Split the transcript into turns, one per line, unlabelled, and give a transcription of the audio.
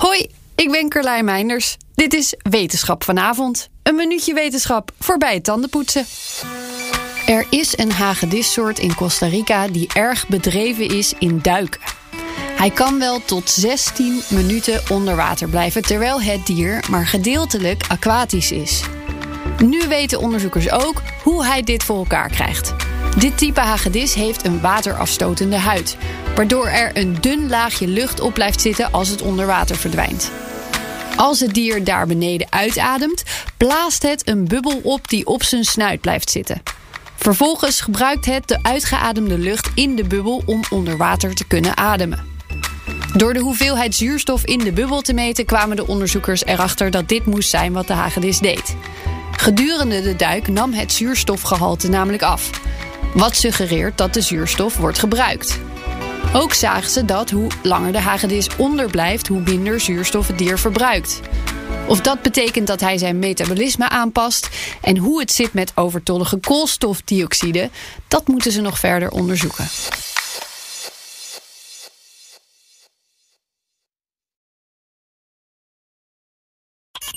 Hoi, ik ben Carlijn Meinders. Dit is Wetenschap vanavond. Een minuutje wetenschap voorbij het tandenpoetsen. Er is een hagedissoort in Costa Rica die erg bedreven is in duiken. Hij kan wel tot 16 minuten onder water blijven terwijl het dier maar gedeeltelijk aquatisch is. Nu weten onderzoekers ook hoe hij dit voor elkaar krijgt. Dit type hagedis heeft een waterafstotende huid, waardoor er een dun laagje lucht op blijft zitten als het onder water verdwijnt. Als het dier daar beneden uitademt, blaast het een bubbel op die op zijn snuit blijft zitten. Vervolgens gebruikt het de uitgeademde lucht in de bubbel om onder water te kunnen ademen. Door de hoeveelheid zuurstof in de bubbel te meten kwamen de onderzoekers erachter dat dit moest zijn wat de hagedis deed. Gedurende de duik nam het zuurstofgehalte namelijk af. Wat suggereert dat de zuurstof wordt gebruikt. Ook zagen ze dat hoe langer de hagedis onderblijft, hoe minder zuurstof het dier verbruikt. Of dat betekent dat hij zijn metabolisme aanpast en hoe het zit met overtollige koolstofdioxide, dat moeten ze nog verder onderzoeken.